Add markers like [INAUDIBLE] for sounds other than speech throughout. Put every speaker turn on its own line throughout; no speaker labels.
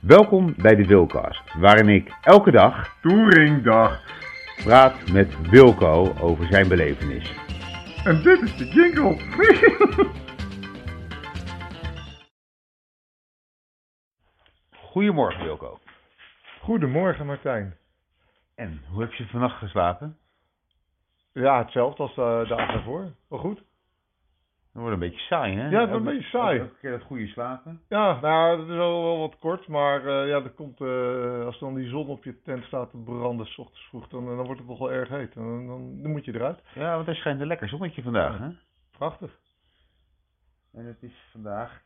Welkom bij de Wilcast, waarin ik elke dag
Touringdag.
praat met Wilco over zijn belevenis.
En dit is de jingle. [LAUGHS]
Goedemorgen Wilco.
Goedemorgen Martijn.
En hoe heb je vannacht geslapen?
Ja, hetzelfde als eh, de dag daarvoor. Wel goed?
Dat wordt een beetje saai, hè?
Ja, het wordt een beetje saai.
Elke keer dat goede slapen.
Ja, nou, dat is wel, wel wat kort, maar eh, ja, dat komt, eh, als dan die zon op je tent staat te branden, s ochtends vroeg, dan, eh, dan wordt het nog wel erg heet. En Dan, dan, dan moet je eruit.
Ja, want er schijnt een lekker zonnetje vandaag, hè?
Prachtig.
En het is vandaag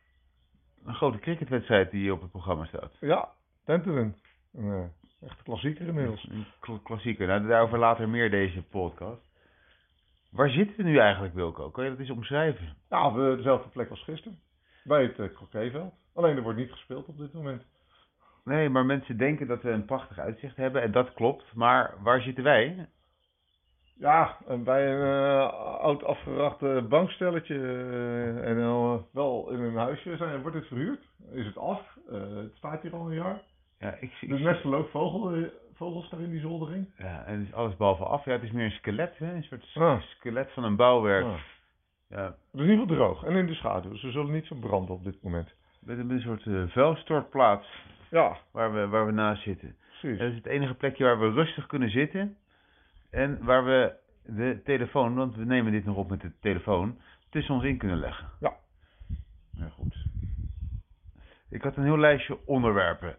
een grote cricketwedstrijd die op het programma staat.
Ja, tenteren. Een, eh, echt een klassieker inmiddels.
Een kl- klassieker. Nou, daarover later meer deze podcast. Waar zitten we nu eigenlijk, Wilco? Kan je dat eens omschrijven?
Nou, we dezelfde plek als gisteren. Bij het eh, croquetveld. Alleen er wordt niet gespeeld op dit moment.
Nee, maar mensen denken dat we een prachtig uitzicht hebben en dat klopt. Maar waar zitten wij?
Ja, en bij een eh, oud afgerachte bankstelletje eh, en dan, eh, wel in een huisje zijn, wordt het verhuurd. Is het af? eh, het staat hier al een jaar.
Ja, ik zie...
Er nestelen ook vogel, eh, vogels daar in die zoldering.
Ja, en het is alles behalve af. Ja, het is meer een skelet, hè? Een soort s-
Ah.
skelet van een bouwwerk.
Ah.
Ja,
Het is in ieder geval droog en in de schaduw. Ze zullen niet verbranden op dit moment.
met een, met een soort eh, vuilstortplaats
Ja,
waar we, waar we naast zitten. Dus
precies.
Dat is het enige plekje waar we rustig kunnen zitten. En waar we de telefoon, want we nemen dit nog op met de telefoon, tussen ons in kunnen leggen.
Ja.
Ja, goed. Ik had een heel lijstje onderwerpen.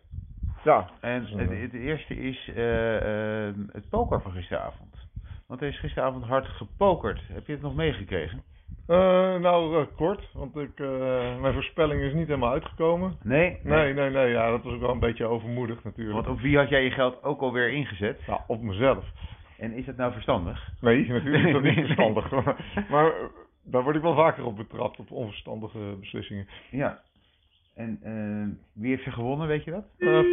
Ja,
En
Zo.
het, het eerste is eh, eh, het poker van gisteravond. Want er is gisteravond hard gepokerd. Heb je het nog meegekregen?
Eh, nou eh, kort, want ik, eh, mijn voorspelling is niet helemaal uitgekomen.
Nee?
Nee, nee, nee, ja, dat was ook wel een beetje overmoedig natuurlijk.
Want op wie had jij je geld ook alweer ingezet?
Nou, op mezelf.
En is dat nou verstandig?
Nee, natuurlijk is dat
Nee,
niet
nee.
verstandig. Maar, maar, eh, daar word ik wel vaker op betrapt, op onverstandige beslissingen.
Ja. En eh, wie heeft er gewonnen, weet je dat?
Eh, fuck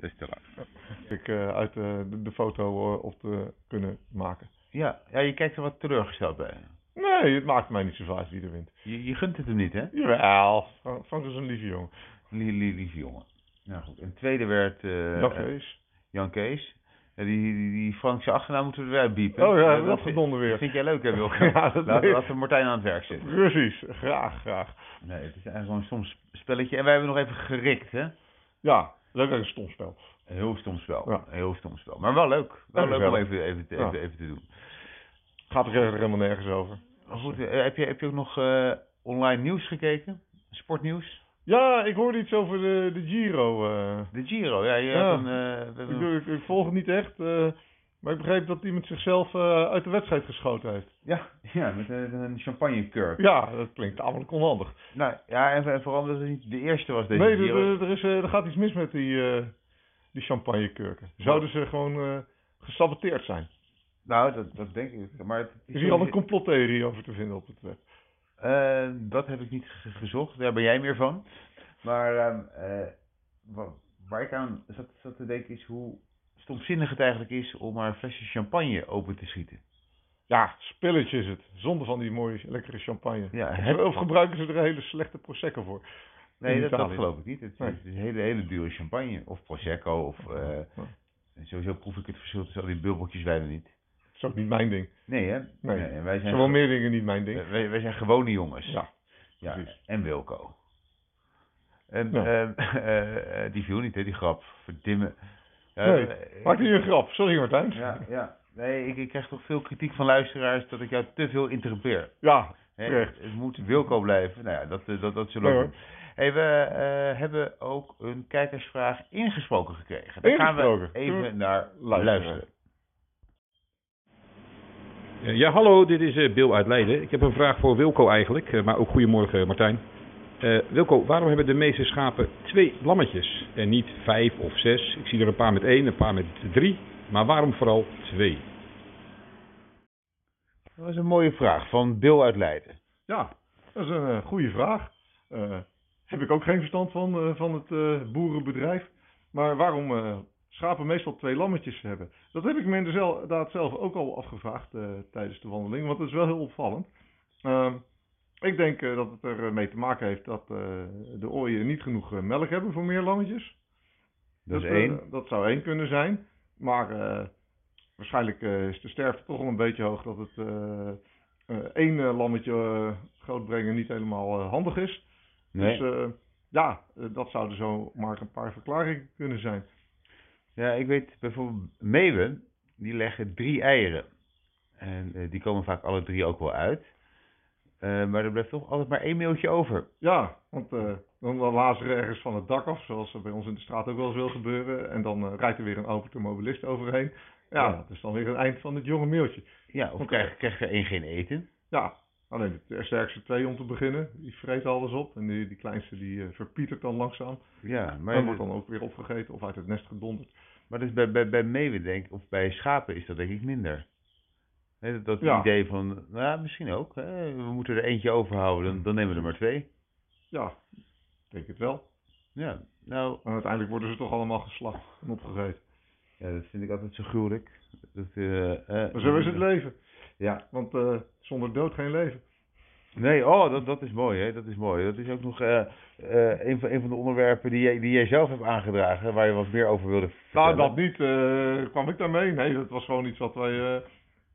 Dat is te laat.
ik eh, uit eh, de, de foto eh, op te kunnen maken.
Ja, ja je kijkt er wat teleurgesteld bij.
Nee, het maakt mij niet zoveel uit wie er wint.
Je, je gunt het hem niet, hè?
Jawel, Frank, Frank is een lieve jongen.
Lie- lie- Lieve jongen. Nou goed. En tweede werd eh,
Dat is.
Jan Kees. Ja, die, die, die Frankse achternaam moeten we eruit biepen.
Oh ja, dat
vind-
gedonder
eh, Dat
weer.
vind jij leuk, hè, Wilco? [LAUGHS]
Ja, dat
laten,
weet-
laten we Martijn aan het werk zitten.
Precies, graag, graag.
Nee, het is eigenlijk gewoon een stom sp- spelletje. En wij hebben nog even gerikt, hè?
Ja, leuk dat een stom spel.
Een heel stom spel.
Ja.
Een heel stom spel. Maar wel leuk. Wel
Ja,
leuk om
gezellig.
even, even, te-
Ja.
even, even te doen.
Gaat er verder helemaal nergens over.
Maar goed, eh, heb je, heb je ook nog eh, online nieuws gekeken? Sportnieuws?
Ja, ik hoorde iets over de, de Giro. eh.
De Giro, ja. Je
Ja.
had een, eh, we
Ik,
hebben-
ik, ik volg het niet echt, eh, maar ik begreep dat iemand zichzelf eh, uit de wedstrijd geschoten heeft.
ja, ja, met een, een champagnecurk.
Ja, dat klinkt tamelijk onhandig.
Nou ja, en, en vooral omdat het niet de eerste was deze
nee,
Giro.
er, er- er is, eh, er gaat iets mis met die, eh, die champagnekurken. Zouden ze gewoon eh, gesaboteerd zijn?
Nou, dat, dat denk ik. Maar het
Is hier al een complottheorie over te vinden op het web?
Eh, dat heb ik niet ge- gezocht, daar ben jij meer van. Maar ehm, eh, wa- waar ik aan zat, zat te denken is hoe stomzinnig het eigenlijk is om maar een flesje champagne open te schieten.
Ja, spilletje is het. Zonder van die mooie, lekkere champagne.
Ja,
Of-
heb,
Of gebruiken ze er hele slechte prosecco voor?
nee,
in
dat, dat
Italië.
geloof ik niet. Het,
Nee.
het is hele, hele dure champagne. Of Prosecco, of eh, sowieso proef ik het verschil tussen al die bubbeltjes bijna niet.
Dat is ook niet mijn ding.
Nee hè?
Nee.
en wij
Er
zijn,
zijn wel meer dingen niet mijn ding.
eh, wij, wij zijn gewone jongens.
Ja,
Ja,
precies.
en Wilco. En,
Ja.
ehm, eh, [LAUGHS] eh, die viel niet hè, die grap. Verdimmen. Ja,
Nee,
eh,
Maak hier een grap. Sorry Martijn.
Ja, ja. Nee, ik, ik krijg toch veel kritiek van luisteraars dat ik jou te veel interrupeer.
Ja,
Hè,
Terecht.
Het moet Wilco blijven. Nou ja, dat, eh, dat, dat zullen we
Nee,
ook doen. Hey, we eh, hebben ook een kijkersvraag ingesproken gekregen. Daar gaan we
Ingesproken?
even
Kunnen we
naar luisteren.
luisteren?
Eh, Ja, hallo, dit is eh, Bill uit Leiden. Ik heb een vraag voor Wilco eigenlijk, eh, maar ook goedemorgen Martijn. Eh, Wilco, waarom hebben de meeste schapen twee lammetjes en niet vijf of zes? Ik zie er een paar met één, een paar met drie, maar waarom vooral twee?
Dat was een mooie vraag van Bill uit Leiden.
Ja, dat is een eh, goede vraag. Eh, heb ik ook geen verstand van, eh, van het eh, boerenbedrijf. Maar waarom eh, schapen meestal twee lammetjes hebben? Dat heb ik me inderdaad zelf ook al afgevraagd eh, tijdens de wandeling, want dat is wel heel opvallend. Ehm, Ik denk eh, dat het er eh, mee te maken heeft dat eh, de ooien niet genoeg eh, melk hebben voor meer lammetjes.
Dat is
eh,
Dus één.
dat zou één kunnen zijn. Maar eh, waarschijnlijk eh, is de sterfte toch wel een beetje hoog dat het eh, eh, één eh, lammetje eh, grootbrengen niet helemaal eh, handig is.
Nee.
Dus eh, ja, eh, dat zouden zo maar een paar verklaringen kunnen zijn.
Ja, ik weet bijvoorbeeld meeuwen, die leggen drie eieren. En eh, die komen vaak alle drie ook wel uit. Eh, maar er blijft toch altijd maar één meeltje over.
Ja, want eh, dan dan lazen er ergens van het dak af, zoals er bij ons in de straat ook wel eens wil gebeuren. En dan eh, rijdt er weer een automobilist overheen. Ja,
Ja.
dat is dan weer het eind van het jonge meeltje.
Ja, of
Oké.
krijgt krijgt er één geen eten.
Ja, alleen de sterkste twee om te beginnen, die vreet alles op. En die, die kleinste die eh, verpietert dan langzaam.
Ja,
Maar
maar,
en wordt dan ook weer opgegeten of uit het nest gedonderd.
maar dus bij, bij, bij meeuwen denk ik, of bij schapen is dat denk ik minder. Hè, dat dat
Ja.
idee van, nou ja, misschien ook. Hè, we moeten er eentje overhouden, dan, dan nemen we er maar twee.
Ja, ik denk het wel.
Ja, nou,
En uiteindelijk worden ze toch allemaal geslacht en opgegeten.
ja, dat vind ik altijd zo gruwelijk. Dat, eh, eh,
Maar zo is het leven.
Ja.
Want eh, zonder dood geen leven.
Nee, oh, dat, dat is mooi, hè? Dat is mooi. Dat is ook nog eh, eh, een, van, een van de onderwerpen die jij, die jij zelf hebt aangedragen, waar je wat meer over wilde
Nou,
vertellen.
dat niet. eh, kwam ik daarmee? Nee, dat was gewoon iets wat wij. eh,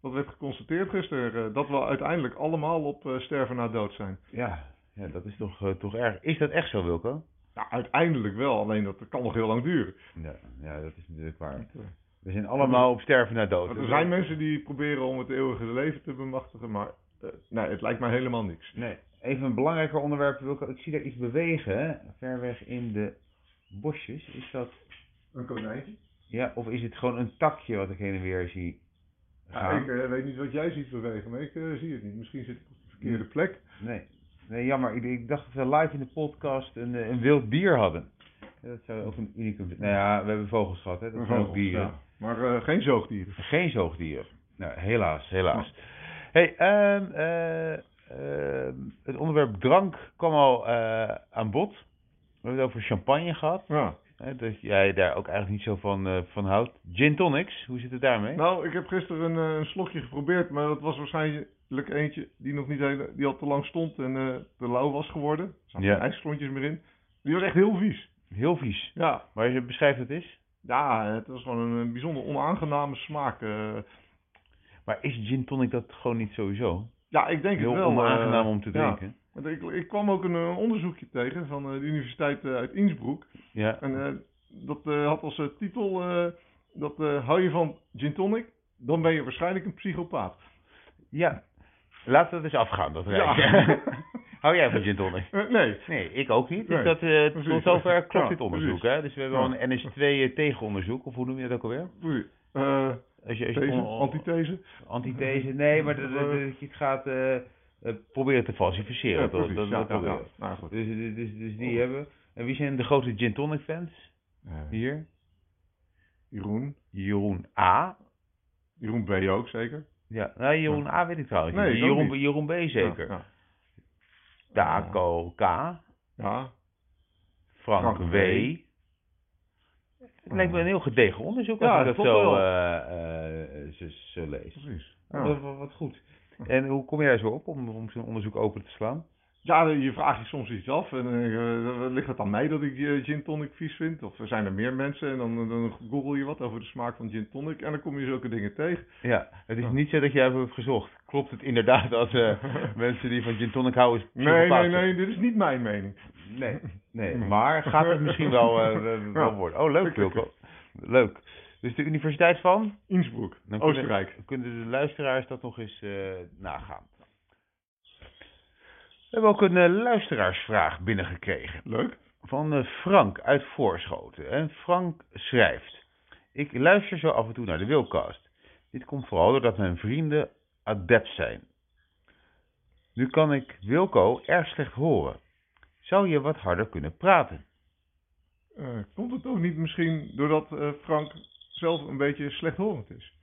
dat werd geconstateerd gisteren. eh, dat we uiteindelijk allemaal op eh, sterven na dood zijn.
Ja, ja dat is toch, eh, toch erg. Is dat echt zo, Wilco?
Ja, uiteindelijk wel, alleen dat kan nog heel lang duren.
Ja, ja, dat is natuurlijk waar.
Want, eh,
We zijn allemaal op sterven na dood.
want er zijn mensen die proberen om het eeuwige leven te bemachtigen, maar. eh, nee, het lijkt mij helemaal niks.
Nee, even een belangrijker onderwerp, Wilco. Ik zie daar iets bewegen, hè? Ver weg in de bosjes. Is dat,
Een konijntje?
ja, of is het gewoon een takje wat ik heen en weer zie gaan?
ik eh, weet niet wat jij ziet bewegen, maar ik eh, zie het niet. Misschien zit ik op de verkeerde plek.
Nee, nee jammer. Ik, ik dacht dat we live in de podcast een, eh, een wild dier hadden. Ja, Dat zou ook een unicum zijn. Nou ja, we hebben vogels gehad, hè? Dat zijn ook dieren.
Ja, Maar eh, geen zoogdieren.
Geen zoogdieren. Nou, helaas, helaas. hey, ehm, eh, ehm, het onderwerp drank kwam al eh, aan bod. We hebben het over champagne gehad.
Ja.
Hè, dat jij daar ook eigenlijk niet zo van, eh, van houdt. Gin tonics, hoe zit het daarmee?
Nou, ik heb gisteren een, eh, een slokje geprobeerd, maar dat was waarschijnlijk eentje die nog niet heel, die al te lang stond en eh, te lauw was geworden. Er zaten
Ja.
geen ijsklontjes meer in. Die was echt heel vies.
Heel vies.
Ja,
Maar je beschrijft het eens.
ja het was gewoon een, eh, bijzonder onaangename smaak. eh.
Maar is gin tonic dat gewoon niet sowieso?
ja, ik denk
Heel
het wel.
onaangenaam
eh,
om te
ja.
drinken.
Want ik, ik kwam ook een, eh, onderzoekje tegen van eh, de universiteit eh, uit Innsbruck.
Ja.
En eh, dat eh, had als eh, titel, eh, dat eh, hou je van gin tonic, dan ben je waarschijnlijk een psychopaat.
Ja, laten we dat eens afgaan, dat [LAUGHS] rijtje.
[LAUGHS]
Hou jij van gin tonic?
Eh, nee.
Nee, ik ook niet. Dus
Nee,
dat, eh,
precies.
tot zover klopt
Ja,
dit onderzoek. Hè? Dus we hebben wel een NS2 eh, tegenonderzoek, of hoe noem je dat ook alweer?
Oei. Eh,
Als je, als je
These,
on- on-
antithese.
antithese, nee, maar dat, dat- dat- dat je het gaat eh, eh, proberen te falsificeren. toch?
precies.
dat,
Ja,
dat
ja,
proberen.
ja. Nou, goed.
Dus, dus, dus, dus die hebben. En wie zijn de grote gin tonic fans
Eh,
hier?
Jeroen.
Jeroen A.
Jeroen B. ook zeker.
Ja, nou, Jeroen A weet ik trouwens
Nee,
niet.
ik ook
Jeroen,
niet.
Jeroen B zeker.
Ja. ja.
Taco K.
ja.
Frank,
Frank
W.
W.
Het lijkt me een heel gedegen onderzoek als
Ja,
ik dat
klopt
zo,
wel.
eh, eh, zo, zo lees.
precies.
Wat,
Ja.
wat- wat goed. En hoe kom je daar zo op om, om zo'n onderzoek open te slaan?
Ja, je vraagt je soms iets af. En dan denk je, eh, ligt het aan mij dat ik eh, gin tonic vies vind? Of zijn er meer mensen? En dan, dan google je wat over de smaak van gin tonic. En dan kom je zulke dingen tegen.
Ja, het is
Ja.
niet zo dat jij hebt gezocht. Klopt het inderdaad dat [LAUGHS] eh, mensen die van gin tonic houden...
Nee, nee,
psychopaat
nee. Dit is niet mijn mening.
zijn? nee. Nee, [LAUGHS] maar gaat het misschien wel, eh, wel- wel
Ja.
worden. Oh, leuk Wilco. Leuk. Dus de Universiteit van?
Innsbruck,
Dan kunnen-
Oostenrijk.
kunnen de luisteraars dat nog eens eh, nagaan. We hebben ook een eh, luisteraarsvraag binnengekregen
Leuk.
van eh, Frank uit Voorschoten. En Frank schrijft: Ik luister zo af en toe naar de Wilcast. Dit komt vooral doordat mijn vrienden adept zijn. Nu kan ik Wilco erg slecht horen. Zou je wat harder kunnen praten?
Eh, komt het ook niet misschien doordat eh, Frank zelf een beetje slechthorend is?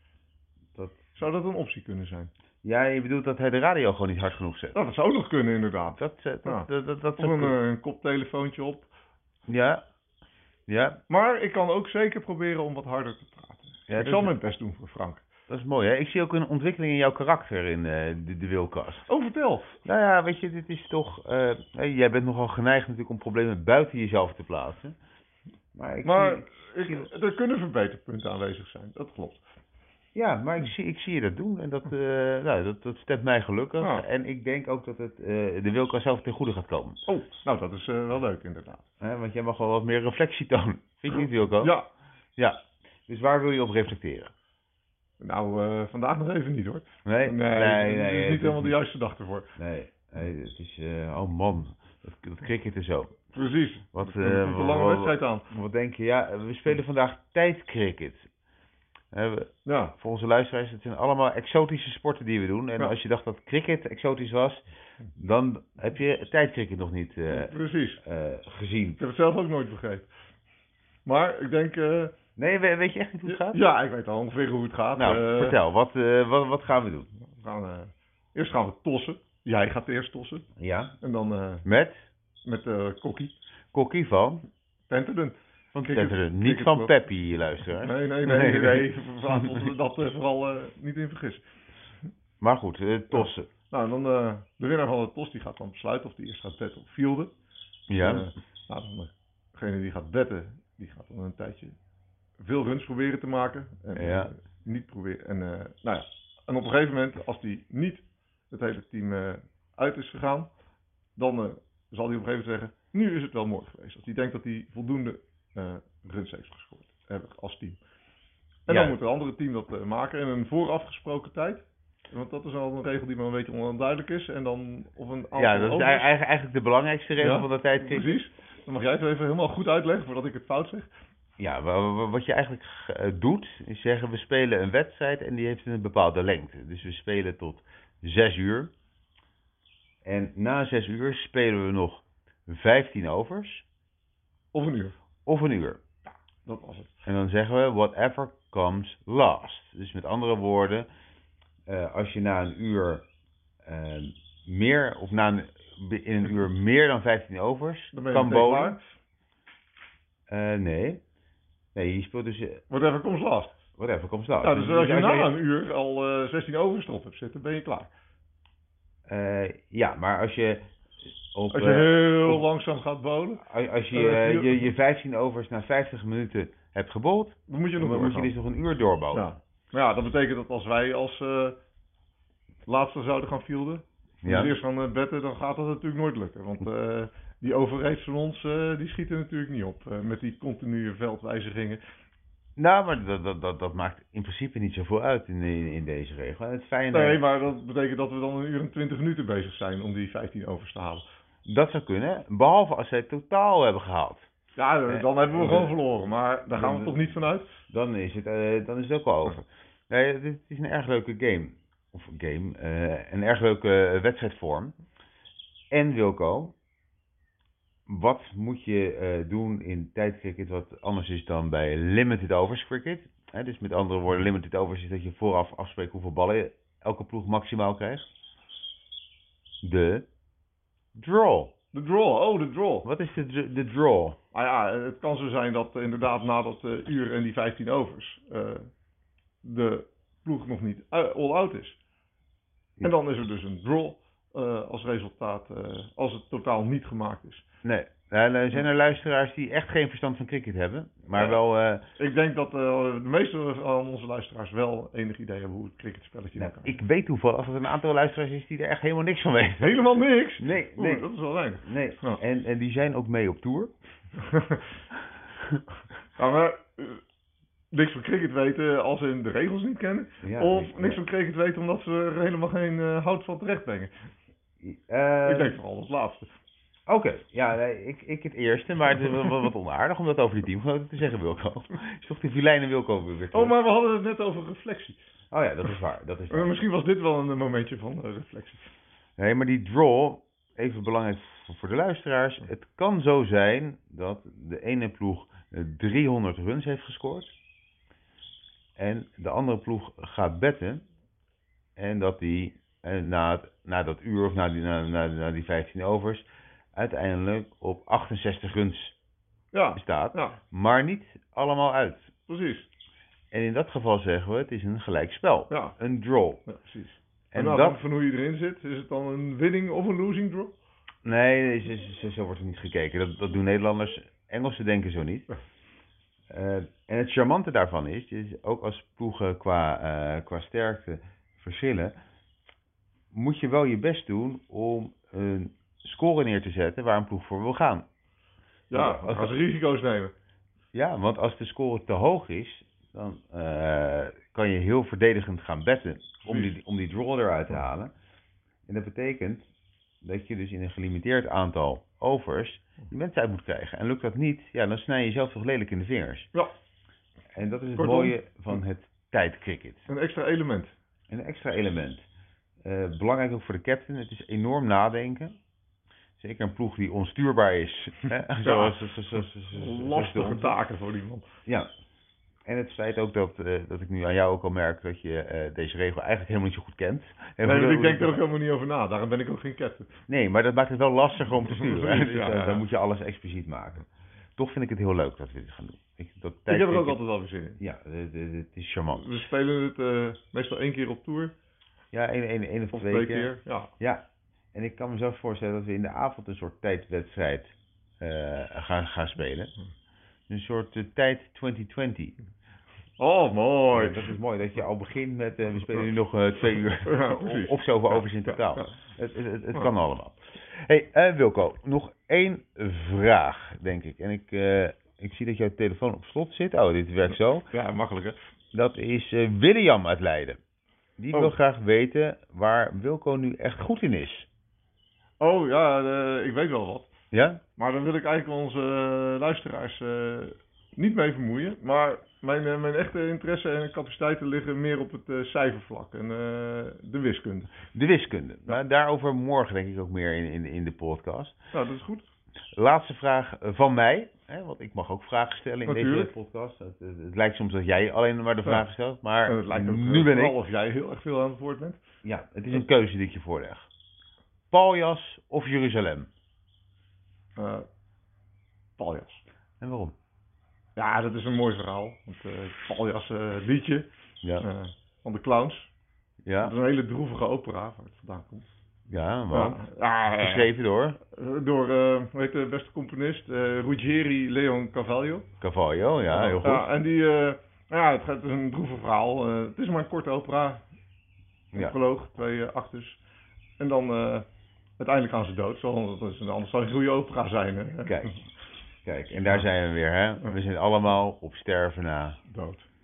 Dat-
Zou dat een optie kunnen zijn?
Ja, je bedoelt dat hij de radio gewoon niet hard genoeg zet.
Nou, dat zou ook nog kunnen inderdaad.
Dat, eh,
Ja.
dat, dat, dat, dat
Of een,
zou-
eh, een koptelefoontje op.
Ja. Ja,
Maar ik kan ook zeker proberen om wat harder te praten.
Ja,
ik
dat
zal
is-
mijn best doen voor Frank.
Dat is mooi, hè? Ik zie ook een ontwikkeling in jouw karakter in eh, de, de wilkast.
Oh, vertel.
Nou ja, weet je, dit is toch... eh, hè, jij bent nogal geneigd natuurlijk om problemen buiten jezelf te plaatsen. Maar ik
Maar
zie-
ik, er kunnen verbeterpunten aanwezig zijn, dat klopt.
Ja, maar ik zie, ik zie je dat doen en dat, eh, nou, dat, dat stemt mij gelukkig.
Ja.
En ik denk ook dat het eh, de wilka zelf ten goede gaat komen.
Oh, nou dat is eh, wel leuk inderdaad.
Hè, want jij mag wel wat meer reflectie tonen. Vind je niet, Wilco?
Ja,
Ja. Dus waar wil je op reflecteren?
nou eh, vandaag nog even niet hoor.
Nee,
het is
het
niet helemaal de juiste dag ervoor.
Nee, nee, het is... eh, oh man, dat, dat cricket en zo.
Precies.
Wat,
Er
eh,
komt een
wat-
lange
wat-
wedstrijd aan.
Wat denk je? Ja, we spelen
Hm.
vandaag tijdcricket. Eh, we-
Ja,
voor onze luisteraars, het zijn allemaal exotische sporten die we doen. En
Ja.
als je dacht dat cricket exotisch was, dan heb je tijdcricket nog niet eh,
precies.
eh, gezien.
Ik heb het zelf ook nooit begrepen. Maar ik denk... eh,
Nee, we- weet je echt niet hoe het gaat?
Ja, ik weet al ongeveer hoe het gaat.
Nou,
Eh,
vertel, wat, eh, wat, wat gaan we doen?
we gaan, eh, eerst gaan we tossen. Jij gaat eerst tossen.
Ja.
En dan eh,
Met
met eh Kokkie.
Kokkie van,
Tenteren.
van
Cricket-
Tetteren. Niet
cricket
van
club.
Peppy, luisteraars.
Nee, nee, nee. nee,
Nee,
nee.
nee.
Laten we ons dat eh, vooral eh, niet in vergissen.
Maar goed, eh, tossen.
Nou, en dan eh, de winnaar van de tos die gaat dan besluiten of die eerst gaat betten of fielden.
Ja.
Eh, nou, dan, eh, degene die gaat betten, die gaat dan een tijdje veel runs proberen te maken. En,
Ja.
eh, niet proberen. En, eh, nou ja. en op een gegeven moment, als die niet het hele team eh, uit is gegaan, dan eh, zal hij op een gegeven moment zeggen, nu is het wel mooi geweest. Als hij denkt dat hij voldoende eh, runs heeft gescoord hebben als team. En
Ja.
dan moet het andere team dat eh, maken in een voorafgesproken tijd. Want dat is al een regel die maar een beetje onduidelijk is. En dan of een aantal
ja, dat is
overs.
eigenlijk, eigenlijk de belangrijkste regel
Ja,
van de tijdcricket.
Precies. Dan mag jij het even helemaal goed uitleggen voordat ik het fout zeg.
Ja, wa- wa- wat je eigenlijk eh, doet, is zeggen we spelen een wedstrijd en die heeft een bepaalde lengte. Dus we spelen tot zes uur. En na zes uur spelen we nog 15 overs
Of een uur.
of een uur.
Dat was het.
En dan zeggen we whatever comes last. Dus met andere woorden, eh, als je na een uur eh, meer, of na een, in een uur meer dan 15 overs
Dan ben je
kan
meteen
bowlen.
klaar.
Eh, nee. Nee, je speelt dus eh,
Whatever comes last.
whatever comes last.
nou, dus als je
als jij-
na een uur al eh 16 overstrop hebt zitten, ben je klaar.
Eh, ja, maar als je, op,
Als je
eh,
heel
op-
langzaam gaat bowlen,
a- als je,
eh,
eh,
heel-
je, je 15 overs na 50 minuten hebt gebold,
dan moet je nog
dan moet je
doorgaan.
dus nog een uur doorbouwen.
ja. Maar ja, dat betekent dat als wij als eh, laatste zouden gaan fielden,
Ja.
dus eerst gaan eh, betten, dan gaat dat natuurlijk nooit lukken. Want eh, die overreeds van ons, eh, die schieten natuurlijk niet op. eh, met die continue veldwijzigingen.
Nou, maar dat, dat, dat, dat maakt in principe niet zoveel uit in, in, in deze regel. En het fijne,
Nee, maar dat betekent dat we dan een uur en twintig minuten bezig zijn om die 15 overs te halen.
dat zou kunnen, behalve als zij het totaal hebben gehaald.
Ja, dan
Eh,
hebben we
eh,
gewoon verloren, maar daar gaan we
eh,
toch niet vanuit?
Dan is het, eh, dan is het ook al over. Nee, het is- het is een erg leuke game. Of game, eh, een erg leuke eh, wedstrijdvorm. En Wilco, wat moet je eh, doen in tijdcricket wat anders is dan bij limited overs cricket? Hè, dus met andere woorden, limited overs is dat je vooraf afspreekt hoeveel ballen elke ploeg maximaal krijgt. De draw.
De draw, oh, de draw.
Wat is de, dr- de draw?
Ah ja, het kan zo zijn dat eh, inderdaad na dat eh, uur en die 15 overs eh, de ploeg nog niet eh, all-out is. En dan is er dus een draw eh, als resultaat eh, als het totaal niet gemaakt is.
Nee, nou, er zijn er luisteraars die echt geen verstand van cricket hebben, maar
Ja.
wel... eh,
Ik denk dat eh, de meeste van onze luisteraars wel enig idee hebben hoe het cricketspelletje in
Nou,
elkaar zit.
ik weet toevallig dat er een aantal luisteraars is die er echt helemaal niks van weten. Nou.
Helemaal niks!
Nee,
Oeh,
nee,
dat is wel weinig.
[LAUGHS] nee.
Ja.
En, en die zijn ook mee op tour.
[LAUGHS] Ja, maar eh, niks van cricket weten als ze de regels niet kennen.
Ja,
of
ik-
niks van cricket weten omdat ze er helemaal geen eh, hout van terecht brengen.
Eh,
ik denk vooral het laatste.
Oké, ja, nee, ik, ik het eerste, maar het is wel- wel wat onaardig om dat over die teamgenoten te zeggen, Wilco. [LAUGHS] Is toch die vilijnen Wilco weer terug?
Oh, maar we hadden het net over reflectie.
Oh ja, dat is waar, dat is
Eh,
waar.
misschien was dit wel een momentje van eh, reflectie.
Nee, maar die draw, even belangrijk voor- voor de luisteraars. Het kan zo zijn dat de ene ploeg eh, 300 runs heeft gescoord. En de andere ploeg gaat betten. En dat die eh, na, het- na dat uur of na die, na, na, na die 15 overs uiteindelijk op 68 runs
Ja,
staat.
ja
Maar niet allemaal uit.
precies.
En in dat geval zeggen we, het is een gelijk spel.
Ja,
Een draw.
ja precies. En,
En
nou,
dat...
dan van hoe je erin zit, is het dan een winning of een losing draw?
Nee, nee, zo, zo- zo wordt het niet gekeken. Dat, dat doen Nederlanders. Engelsen denken zo niet. Eh, en het charmante daarvan is, is ook als ploegen qua, eh, qua sterkte verschillen, moet je wel je best doen om een score neer te zetten waar een ploeg voor wil gaan.
Ja,
Ja, als-
als risico's nemen.
Ja, want als de score te hoog is, dan eh, kan je heel verdedigend gaan betten om die, om die draw eruit te halen. En dat betekent dat je dus in een gelimiteerd aantal overs die mensen uit moet krijgen. En lukt dat niet, ja, dan snij je jezelf toch lelijk in de vingers.
Ja.
En dat is het
Kortom.
mooie van het tijdcricket.
Een extra element.
Een extra element. Eh, belangrijk ook voor de captain, het is enorm nadenken. Zeker een ploeg die onstuurbaar is.
[LAUGHS]
hè, Zoals, zo- zo- zo- zo- zo- zo-
Lastige taken voor iemand.
ja. En het feit ook dat, eh, dat ik nu aan jou ook al merk dat je eh, deze regel eigenlijk helemaal niet zo goed kent. En
[LAUGHS] Nee,
hoe-
want ik
hoe-
denk er ook helemaal niet over na. Daarom ben ik ook geen captain.
Nee, maar dat maakt het wel lastiger om te sturen. hè.
Precies,
Dus,
[LAUGHS] ja,
eh,
ja, ja.
Dan moet je alles expliciet maken. Toch vind ik het heel leuk dat we dit gaan doen. Ik, dat
Ik heb er ook Dus-
tijdstip-
altijd wel weer zin in.
Ja, eh, eh, het is charmant.
We spelen het eh, meestal één keer op tour.
Ja, één één- één
Of twee keer. Ja.
Ja, en ik kan me zelf voorstellen dat we in de avond een soort tijdwedstrijd eh, gaan, gaan spelen.
Hm.
Een soort eh, tijd 2020.
Oh, mooi.
Ja, dat is mooi dat je al begint met. eh, we spelen nu nog eh, twee uur. [LAUGHS]
Ja,
of,
precies.
of zoveel overs in
Ja,
totaal.
ja.
Het, het, het, het
Ja.
kan allemaal. hey, eh, Wilco, nog één vraag, denk ik. En ik, eh, ik zie dat jouw telefoon op slot zit. Oh, dit werkt zo.
Ja, makkelijk hè.
Dat is eh, William uit Leiden. Die
Oh.
wil graag weten waar Wilco nu echt goed in is.
Oh ja, eh, ik weet wel wat.
Ja?
Maar dan wil ik eigenlijk onze eh, luisteraars eh, niet mee vermoeien. Maar mijn, eh, mijn echte interesse en capaciteiten liggen meer op het eh, cijfervlak en eh, de wiskunde.
De wiskunde. Nou, daarover morgen denk ik ook meer in, in, in de podcast.
Nou, dat is goed.
Laatste vraag eh, van mij. Hè, want ik mag ook vragen stellen in
Natuurlijk.
deze podcast. Het, het- het lijkt soms dat jij alleen maar de
Ja.
vragen stelt. Maar
En het lijkt ook
nu
eh,
ben
vooral Eh.
ik.
of jij heel erg veel aan het woord bent.
Ja, het is een keuze die ik je voorleg. Paljas of Jeruzalem?
Eh paljas.
En waarom?
Ja, dat is een mooi verhaal. Want eh paljas eh, liedje
Ja,
eh, van de clowns. Dat
ja,
is een hele droevige opera waar het vandaan komt.
ja maar.
Ja, ja, ja.
Geschreven door
Door, eh, hoe heet de beste componist? Eh Ruggieri Leon Carvalho.
Carvalho. Ja, heel goed.
en die, eh, nou ja, het gaat- het is een droevig verhaal. Eh, het is maar een korte opera. Een
Ja.
proloog, twee eh, achters. En dan eh, uiteindelijk gaan ze dood. Zo, dat is, anders zou het een goede opera zijn. Hè?
Kijk, kijk. En daar zijn we weer. Hè? We zijn allemaal op sterven na
[LAUGHS] Dood.